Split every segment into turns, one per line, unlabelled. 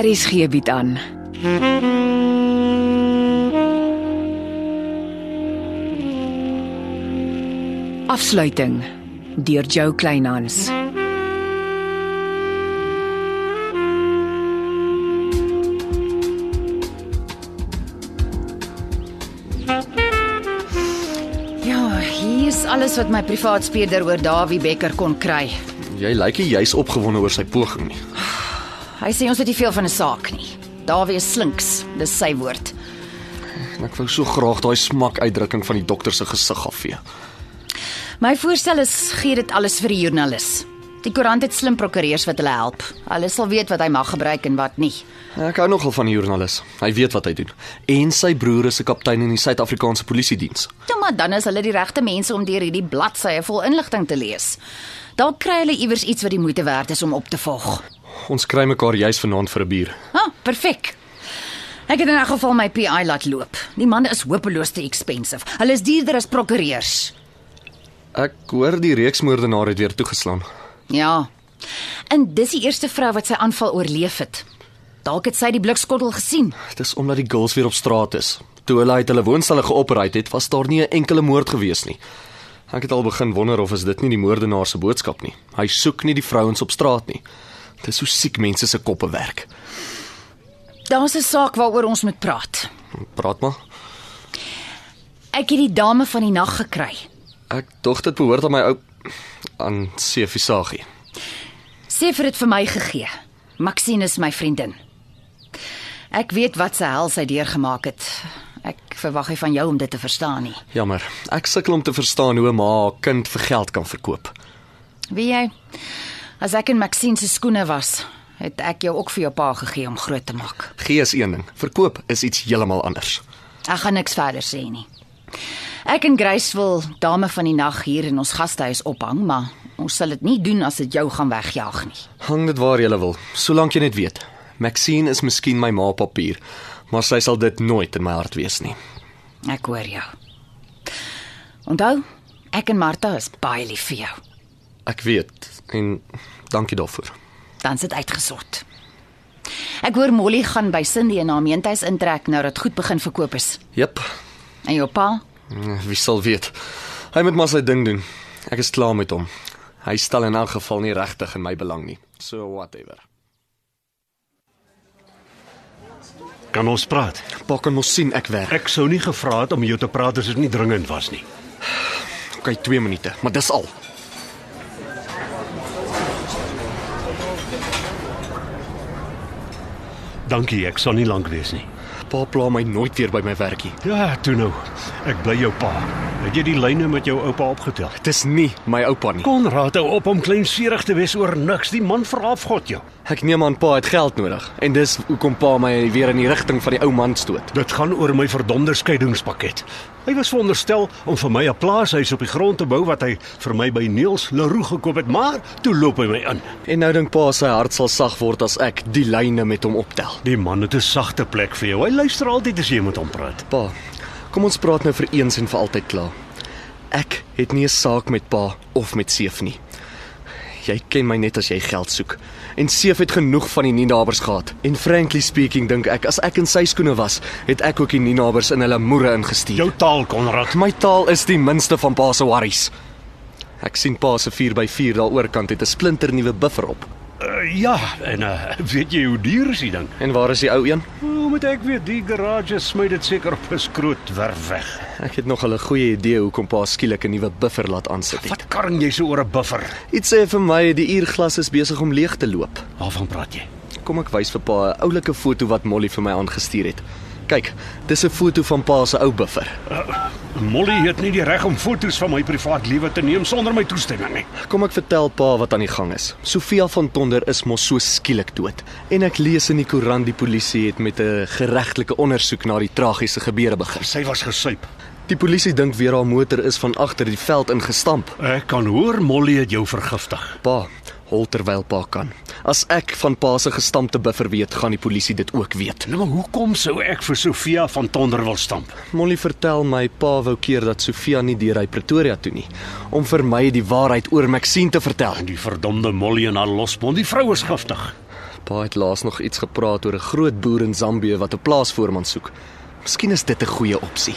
RSG bied aan. Afsluiting deur Jo Kleinhans.
Ja, hier's alles wat my privaat speurder oor Dawie Becker kon kry.
Jy lyk nie juis opgewonde oor sy poging nie.
Hy sê ons weet nie veel van 'n saak nie. Dawie is slinks, dis sy woord.
En Ek wou so graag daai smak uitdrukking van die dokter se gesig afvee.
My voorstel is gee dit alles vir die joernalis. Die koerant het slim prokureurs wat hulle help. Hulle sal weet wat hy mag gebruik en wat nie.
Ek hou nogal van die joernalis. Hy weet wat hy doen. En sy broer is 'n kaptein in die Suid-Afrikaanse Polisie Diens.
Nou maar dan is hulle die regte mense om deur hierdie bladsye vol inligting te lees. Dalk kry hulle iewers iets wat die moeite werd is om op te volg.
Ons kry mekaar juis vanaand vir 'n bier.
Ha, ah, perfek. Ek het in 'n geval my PI laat loop. Die man is hopeloos te expensive. Hulle is duurder as prokureurs.
Ek hoor die reeksmoordenaar het weer toegeslaan.
Ja. En dis die eerste vrou wat sy aanval oorleef het. Dalk het sy die blikskottel gesien.
Dis omdat die girls weer op straat is. Toe hulle uit hulle woonstelle geoperate het, was daar nie 'n enkele moord gewees nie. Ek het al begin wonder of is dit nie die moordenaar se boodskap nie. Hy soek nie die vrouens op straat nie. Dis hoe siek mense se koppe werk.
Daar's 'n saak waaroor ons moet praat.
Praat maar.
Ek het die dame van die nag gekry.
Ek dink dit behoort aan my ou aan Sefisagie.
Sê vir dit vir my gegee. Maxine is my vriendin. Ek weet wat sy hel sy deurgemaak het. Ek verwag nie van jou om dit te verstaan nie.
Jammer. Ek sukkel om te verstaan hoe 'n ma haar kind vir geld kan verkoop.
Wie jy? As ek in Maxine se skoene was, het ek jou ook vir jou pa gegee om groot te maak.
Gee is een ding, verkoop is iets heeltemal anders.
Ek gaan niks verder sê nie. Ek en Grace wil dame van die nag hier in ons gastehuis ophang, maar ons sal dit nie doen as dit jou gaan wegjaag nie.
Hang dit waar jy wil, solank jy net weet. Maxine is miskien my ma op papier, maar sy sal dit nooit in my hart wees nie.
Ek hoor jou. Onthou, ek en Martha is baie lief vir jou.
Ek weet en dankie daarvoor.
Dan sit uitgesort. Ek hoor Molly gaan by Cindy in haar meentuis intrek nou dat goed begin verkoop is.
Jep.
En jou pa?
Wie sal weet? Hy moet maar sy ding doen. Ek is klaar met hom. Hy stel in elk geval nie regtig in my belang nie. So whatever.
Kan ons praat?
Pa kan mos sien ek werk.
Ek sou nie gevra het om jou te praat as dit nie dringend was nie.
Okay, 2 minute, maar dis al.
Dankie, ek sal nie lank wees nie.
Pa pla my nooit weer by my werkie.
Ja, toe nou. Ek bly jou pa. Het jy die lyne met jou oupa opgetel?
Dis nie my oupa nie.
Konrad hou op om kleinserig te wees oor niks. Die man veraf God jou.
Ek neem aan pa het geld nodig en dis hoekom pa my weer in die rigting van die ou man stoot.
Dit gaan oor my verdomde skeidingspakket. Hy was veronderstel om vir my 'n plaashuis op die grond te bou wat hy vir my by Neels Leroux gekoop het, maar toe loop hy my in.
En nou dink pa sy hart sal sag word as ek die lyne met hom optel.
Die man het 'n sagte plek vir jou. Hy luister altyd as jy met hom praat.
Pa, kom ons praat nou vir eens en vir altyd klaar. Ek het nie 'n saak met pa of met Seef nie. Jy ken my net as jy geld soek. En Seef het genoeg van die Ninabers gehad. En frankly speaking dink ek as ek in sy skoene was, het ek ook die Ninabers in hulle moere ingestuur.
Jou taal, Konrad.
My taal is die minste van pa se worries. Ek sien pa se 4x4 daaroorkant het 'n splinternuwe buffer op.
Uh, ja, en uh, weet jy hoe duur is die ding?
En waar is die ou een?
Hoe moet ek weet die garage smy dit seker op 'n skrootwerf weg.
Ek het nog 'n goeie idee hoekom pa skielik 'n nuwe buffer laat aansit het.
Wat karring jy so oor 'n buffer?
Iets sê vir my die uurglas is besig om leeg te loop.
Waarvan praat jy?
Kom ek wys vir pa 'n oulike foto wat Molly vir my aangestuur het. Kyk, dis 'n foto van pa se ou buffer.
Molly het nie die reg om foto's van my privaat lewe te neem sonder my toestemming nie.
Kom ek vertel pa wat aan die gang is. Sofia van Tonder is mos so skielik dood en ek lees in die koerant die polisie het met 'n geregtelike ondersoek na die tragiese gebeure begin.
Sy was gesuip.
Die polisie dink weer haar motor is van agter die veld ingestamp.
Ek kan hoor Molly het jou vergiftig.
Pa, hol terwyl pa kan. As ek van pa se gestampte buffer weet, gaan die polisie dit ook weet.
Nou maar hoekom sou ek vir Sofia van Tonder wil stamp?
Molly vertel my pa wou keer dat Sofia nie deur hy Pretoria toe nie om vir my die waarheid oor Maxine te vertel.
Die verdomde Molly en haar losbond, die vrou is giftig.
Pa het laas nog iets gepraat oor 'n groot boer in Zambië wat 'n plaasvoorman soek. Miskien is dit 'n goeie opsie.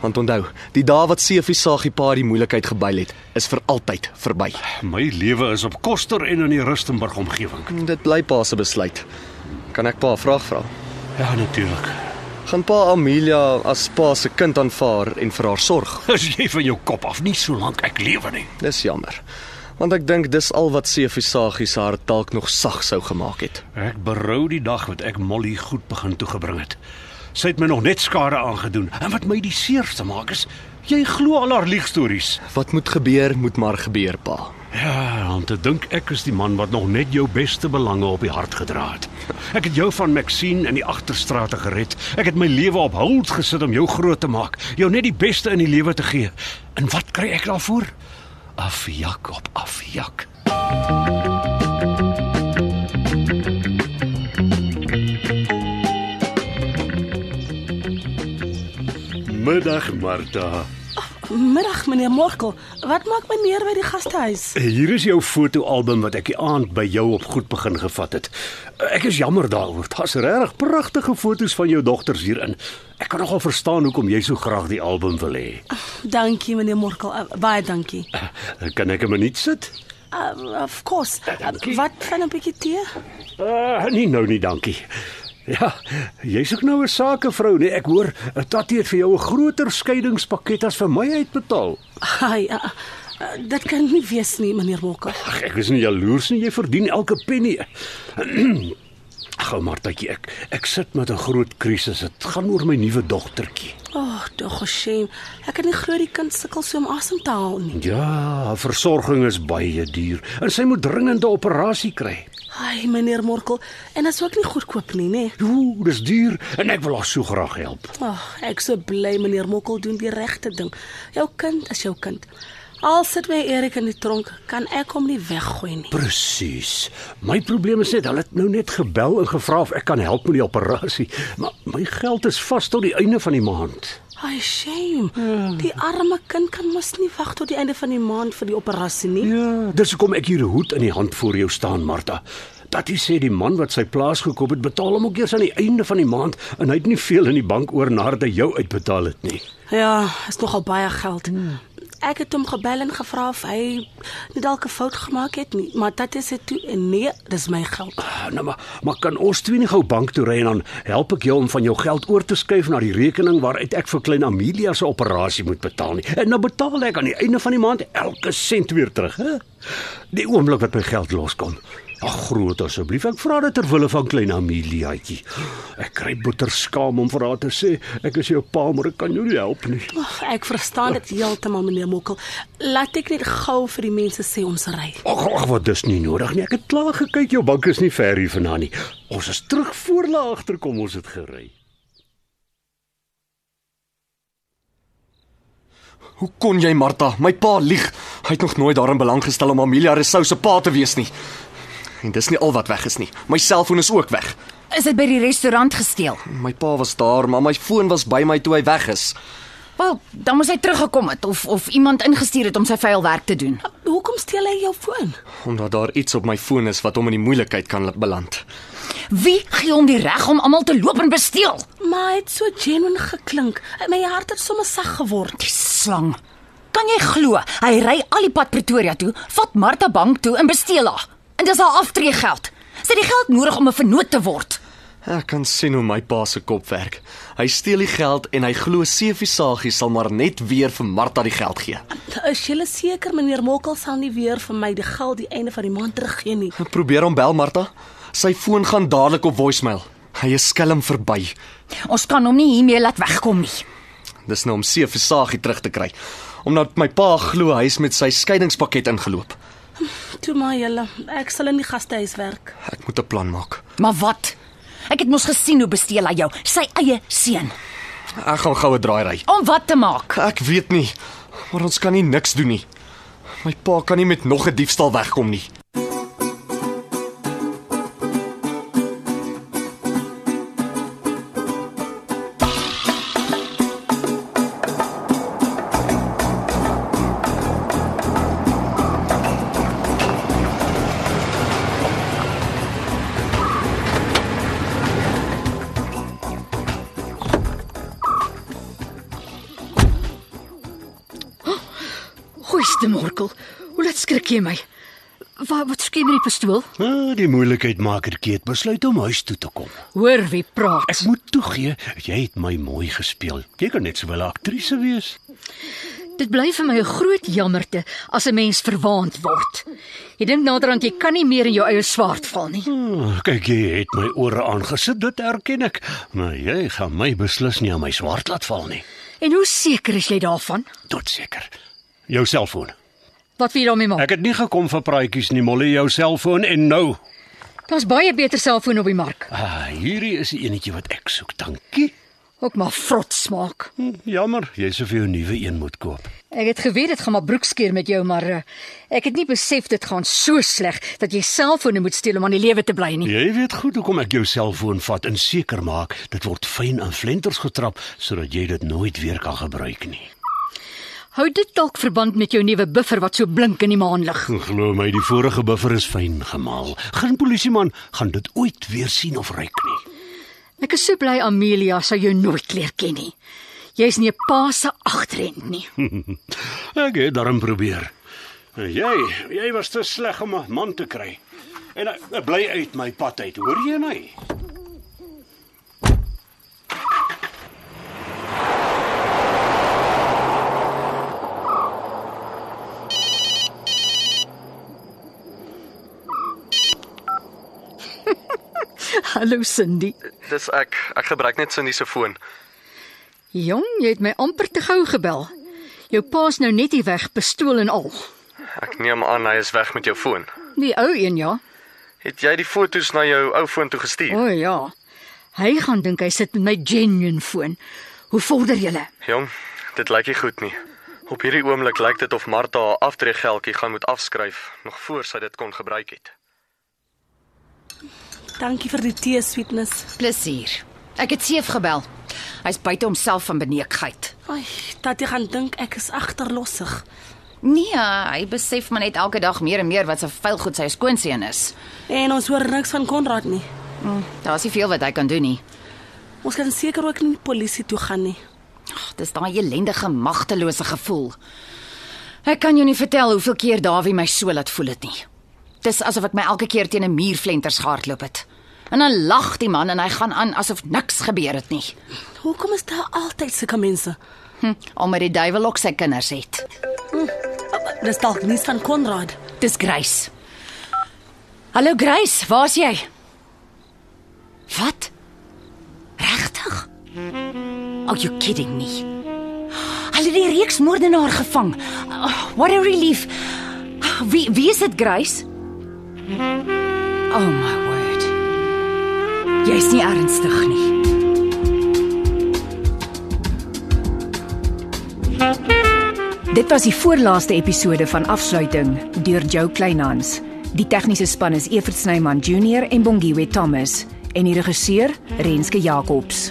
Want onthou, die dae wat Seefie Sagie pa die moeilikheid gebuil het, is vir altyd verby.
My lewe is op koster en in die Rustenburg omgewing.
Dit bly pa se besluit. Kan ek pa 'n vraag vra?
Ja, natuurlik.
Gaan pa Amelia as pa se kind aanvaar en vir haar sorg?
As jy van jou kop af nie solank ek lewe nie.
Dis jammer. Want ek dink dis al wat Seefie Sagie se hart dalk nog sag sou gemaak het.
Ek berou die dag wat ek Molly goed begin toegebring het. Sy het my nog net skade aangedoen en wat my die seerste maak is, jy glo al haar leegstories.
Wat moet gebeur, moet maar gebeur, pa.
Ja, om te dink ek is die man wat nog net jou beste belange op die hart gedra het. Ek het jou van Maxine in die agterstrate gered. Ek het my lewe op hold gesit om jou groot te maak, jou net die beste in die lewe te gee. En wat kry ek daarvoor? Afjak op afjak. Middag Martha.
Middag meneer Morkel. Wat maak meneer by die gastehuis?
Hier is jou fotoalbum wat ek die aand by jou op goed begin gevat het. Ek is jammer daaroor. Daar's regtig pragtige foto's van jou dogters hierin. Ek kan nogal verstaan hoekom jy so graag die album wil hê.
Dankie meneer Morkel. Uh, baie dankie.
Eh, Kan ek 'n minuut sit?
Uh, of course.
dankie.
Uh, wat van 'n bietjie tee?
Uh, nee nou nie, dankie. Ja, jy's ook nou 'n sakevrou, nee. Ek hoor Tatie het vir jou 'n groter skeidingspakket as vir my uitbetaal.
Ai, uh, uh, dit kan nie wees nie meneer Morkel.
Ag, ek is nie jaloers nie. Jy verdien elke penny. Gou maar datjie ek ek sit met 'n groot krisis. Dit gaan oor my nuwe dogtertjie.
O, oh, tog 'n shame. Ek kan nie glo die kind sukkel so om asem te haal nie.
Ja, haar versorging is baie duur en sy moet dringende operasie kry.
Ai meneer Morkel, en dit is ook nie goedkoop nie, nê?
Ooh, dis duur en ek wil haar so graag help.
Ag, oh, ek so bly meneer Morkel doen die regte ding. Jou kind is jou kind. Al sit my Erik in die tronk, kan ek hom nie weggooi nie.
Presies. My probleem is net hulle het nou net gebel en gevra of ek kan help met die operasie, maar my geld is vas tot die einde van die maand.
Ai shame. Die arme kind kan mos nie wag tot die einde van die maand vir die operasie nie.
Ja, dis hoekom ek hier 'n hoed in die hand voor jou staan, Martha. Tatie sê die man wat sy plaas gekoop het, betaal hom ook eers aan die einde van die maand en hy het nie veel in die bank oor nadat hy jou uitbetaal het nie.
Ja, is nogal baie geld. Ek het hom gebel en gevra of hy nie dalk 'n fout gemaak het nie, maar dit is dit toe nee, dis my geld.
Ah, Nou maar, maar kan ons twee nie gou bank toe ry en dan help ek jou om van jou geld oor te skuif na die rekening waaruit ek vir klein Amelia se operasie moet betaal nie. En dan betaal ek aan die einde van die maand elke sent weer terug, hè? Die oomblik wat my geld loskom. Ag groot asseblief, ek vra dit ter wille van klein Ameliaatjie. Ek kry bitter skaam om vir haar te sê ek is jou pa, maar ek kan jou nie help nie.
Ag, ek verstaan dit heeltemal meneer Mokkel. Laat ek net gou vir die mense sê om se ry.
Ag, ag, wat dis nie nodig nie. Ek het klaar gekyk, jou bank is nie ver hier vandaan nie. Ons is terug voor hulle agterkom ons het gery.
Hoe kon jy, Martha? My pa lieg. Hy het nog nooit daarin belang gestel om Amelia Resou se pa te wees nie. En dis nie al wat weg is nie. My selfoon is ook weg.
Is dit by die restaurant gesteel?
My pa was daar, maar my foon was by my toe hy weg is.
Wel, dan moes hy teruggekom het of of iemand ingestuur het om sy vuil werk te doen.
Hoekom steel hy jou foon?
Omdat daar iets op my foon is wat hom in die moeilikheid kan beland.
Wie gee hom die reg om almal te loop en besteel?
Maar hy het so genuine geklink. My hart het sommer sag geword.
Die slang. Kan jy glo? Hy ry al die pad Pretoria toe, vat Martha Bank toe en besteel haar. En dis haar aftreegeld. Sy het die geld nodig om 'n vernoot te word.
Ek kan sien hoe my pa se kop werk. Hy steel die geld en hy glo Seefie Sagie sal maar net weer vir Martha die geld gee.
Is jy seker meneer Mokkel sal nie weer vir my die geld die einde van die maand teruggee nie?
Probeer hom bel, Martha. Sy foon gaan dadelik op voicemail. Hy is skelm verby.
Ons kan hom nie hiermee laat wegkom nie.
Dis nou om Seefie Sagie terug te kry. Omdat my pa glo hy is met sy skeidingspakket ingeloop.
Toe maar julle, ek sal in die gastehuis werk.
Ek moet 'n plan maak.
Maar wat? Ek het mos gesien hoe besteel hy jou, sy eie seun.
Ek gaan goue draai ry.
Om wat te maak?
Ek weet nie, maar ons kan nie niks doen nie. My pa kan nie met nog 'n diefstal wegkom nie.
Liewe Morkel, hoe laat skrik jy my? Wat wat skiem hierdie pistool?
Ah, die moeilikheid maak dit keet besluit om huis toe te kom.
Hoor wie praat.
Ek moet toegee, jy het my mooi gespeel. Jy kan net sowel 'n aktrise wees.
Dit bly vir my 'n groot jammerte as 'n mens verwaand word. Jy dink naderhand jy kan nie meer in jou eie swaard val nie.
Ah, kyk, jy het my ore aangesit, dit erken ek. Maar jy gaan my beslis nie aan my swart laat val nie.
En hoe seker is jy daarvan?
Tot seker. Jou selfoon.
Wat wil jy daarmee maak?
Ek het nie gekom vir praatjies nie, Molly, jou selfoon en nou.
Daar's baie beter selfone op die mark.
Ah, hierdie is die enetjie wat ek soek, dankie.
Ook maar vrot smaak.
Hm, Jammer, jy sou vir jou nuwe een moet koop.
Ek het geweet dit gaan maar broekskeer met jou, maar eh, ek het nie besef dit gaan so sleg dat jy selfone moet steel om aan die lewe te bly nie.
Jy weet goed hoekom ek jou selfoon vat en seker maak dit word fyn aan flenters getrap sodat jy dit nooit weer kan gebruik nie.
Hou dit dalk verband met jou nuwe buffer wat so blink in die maanlig.
Glo my, die vorige buffer is fyn gemaal. Geen polisieman gaan dit ooit weer sien of ruik nie.
Ek is so bly Amelia sou jou nooit leer ken nie. Jy's nie 'n pa se agterend nie.
Ek het daarom probeer. En Jy, jy was te sleg om 'n man te kry. En hy- hy bly uit my pad uit, hoor jy my?
Hallo Cindy.
Dis ek. Ek gebruik net Cindy se foon.
Jong, jy het my amper te gou gebel. Jou pa's nou net hier weg, pistool en al.
Ek neem aan hy is weg met jou foon.
Die ou een ja.
Het jy die foto's na jou ou foon toe gestuur?
O ja. Hy gaan dink hy sit met my genuine foon. Hoe vorder julle?
Jong, dit lyk nie goed nie. Op hierdie oomblik lyk dit of Martha haar aftrekgeldjie gaan moet afskryf nog voor sy dit kon gebruik het.
Dankie vir die tee sweetness.
Plesier. Ek het Seef gebel. Hy's buite homself van beneekheid.
Ai, dat jy gaan dink ek is agterlossig.
Nee, hy besef maar net elke dag meer en meer wat 'n vuil goed sy skoonseun is.
En ons hoor niks van Konrad nie.
Daar's nie veel wat hy kan doen nie.
Ons kan seker ook nie polisie toe gaan nie.
Ag, dis daai elendige magtelose gevoel. Ek kan jou nie vertel hoeveel keer Dawie my so laat voel het nie. Dis asof ek my elke keer teen 'n muur flenters gehardloop het. En dan lag die man en hy gaan aan asof niks gebeur het nie.
Hoekom is daar altyd sulke mense?
Hm, omdat die duiwel ook sy kinders het.
Dis dalk nuus van Konrad.
Dis Grace. Hallo Grace, waar's jy? Wat? Regtig? Are you kidding me? Hulle het die reeksmoordenaar gevang. Oh, what a relief. Ah, Wie wie is dit Grace? Oh my word. Jy's nie ernstig nie.
Dit was die voorlaaste episode van Afsluiting deur Jo Kleinhans. Die tegniese span is Evert Snyman Junior en Bongwe Thomas en die regisseur Renske Jacobs.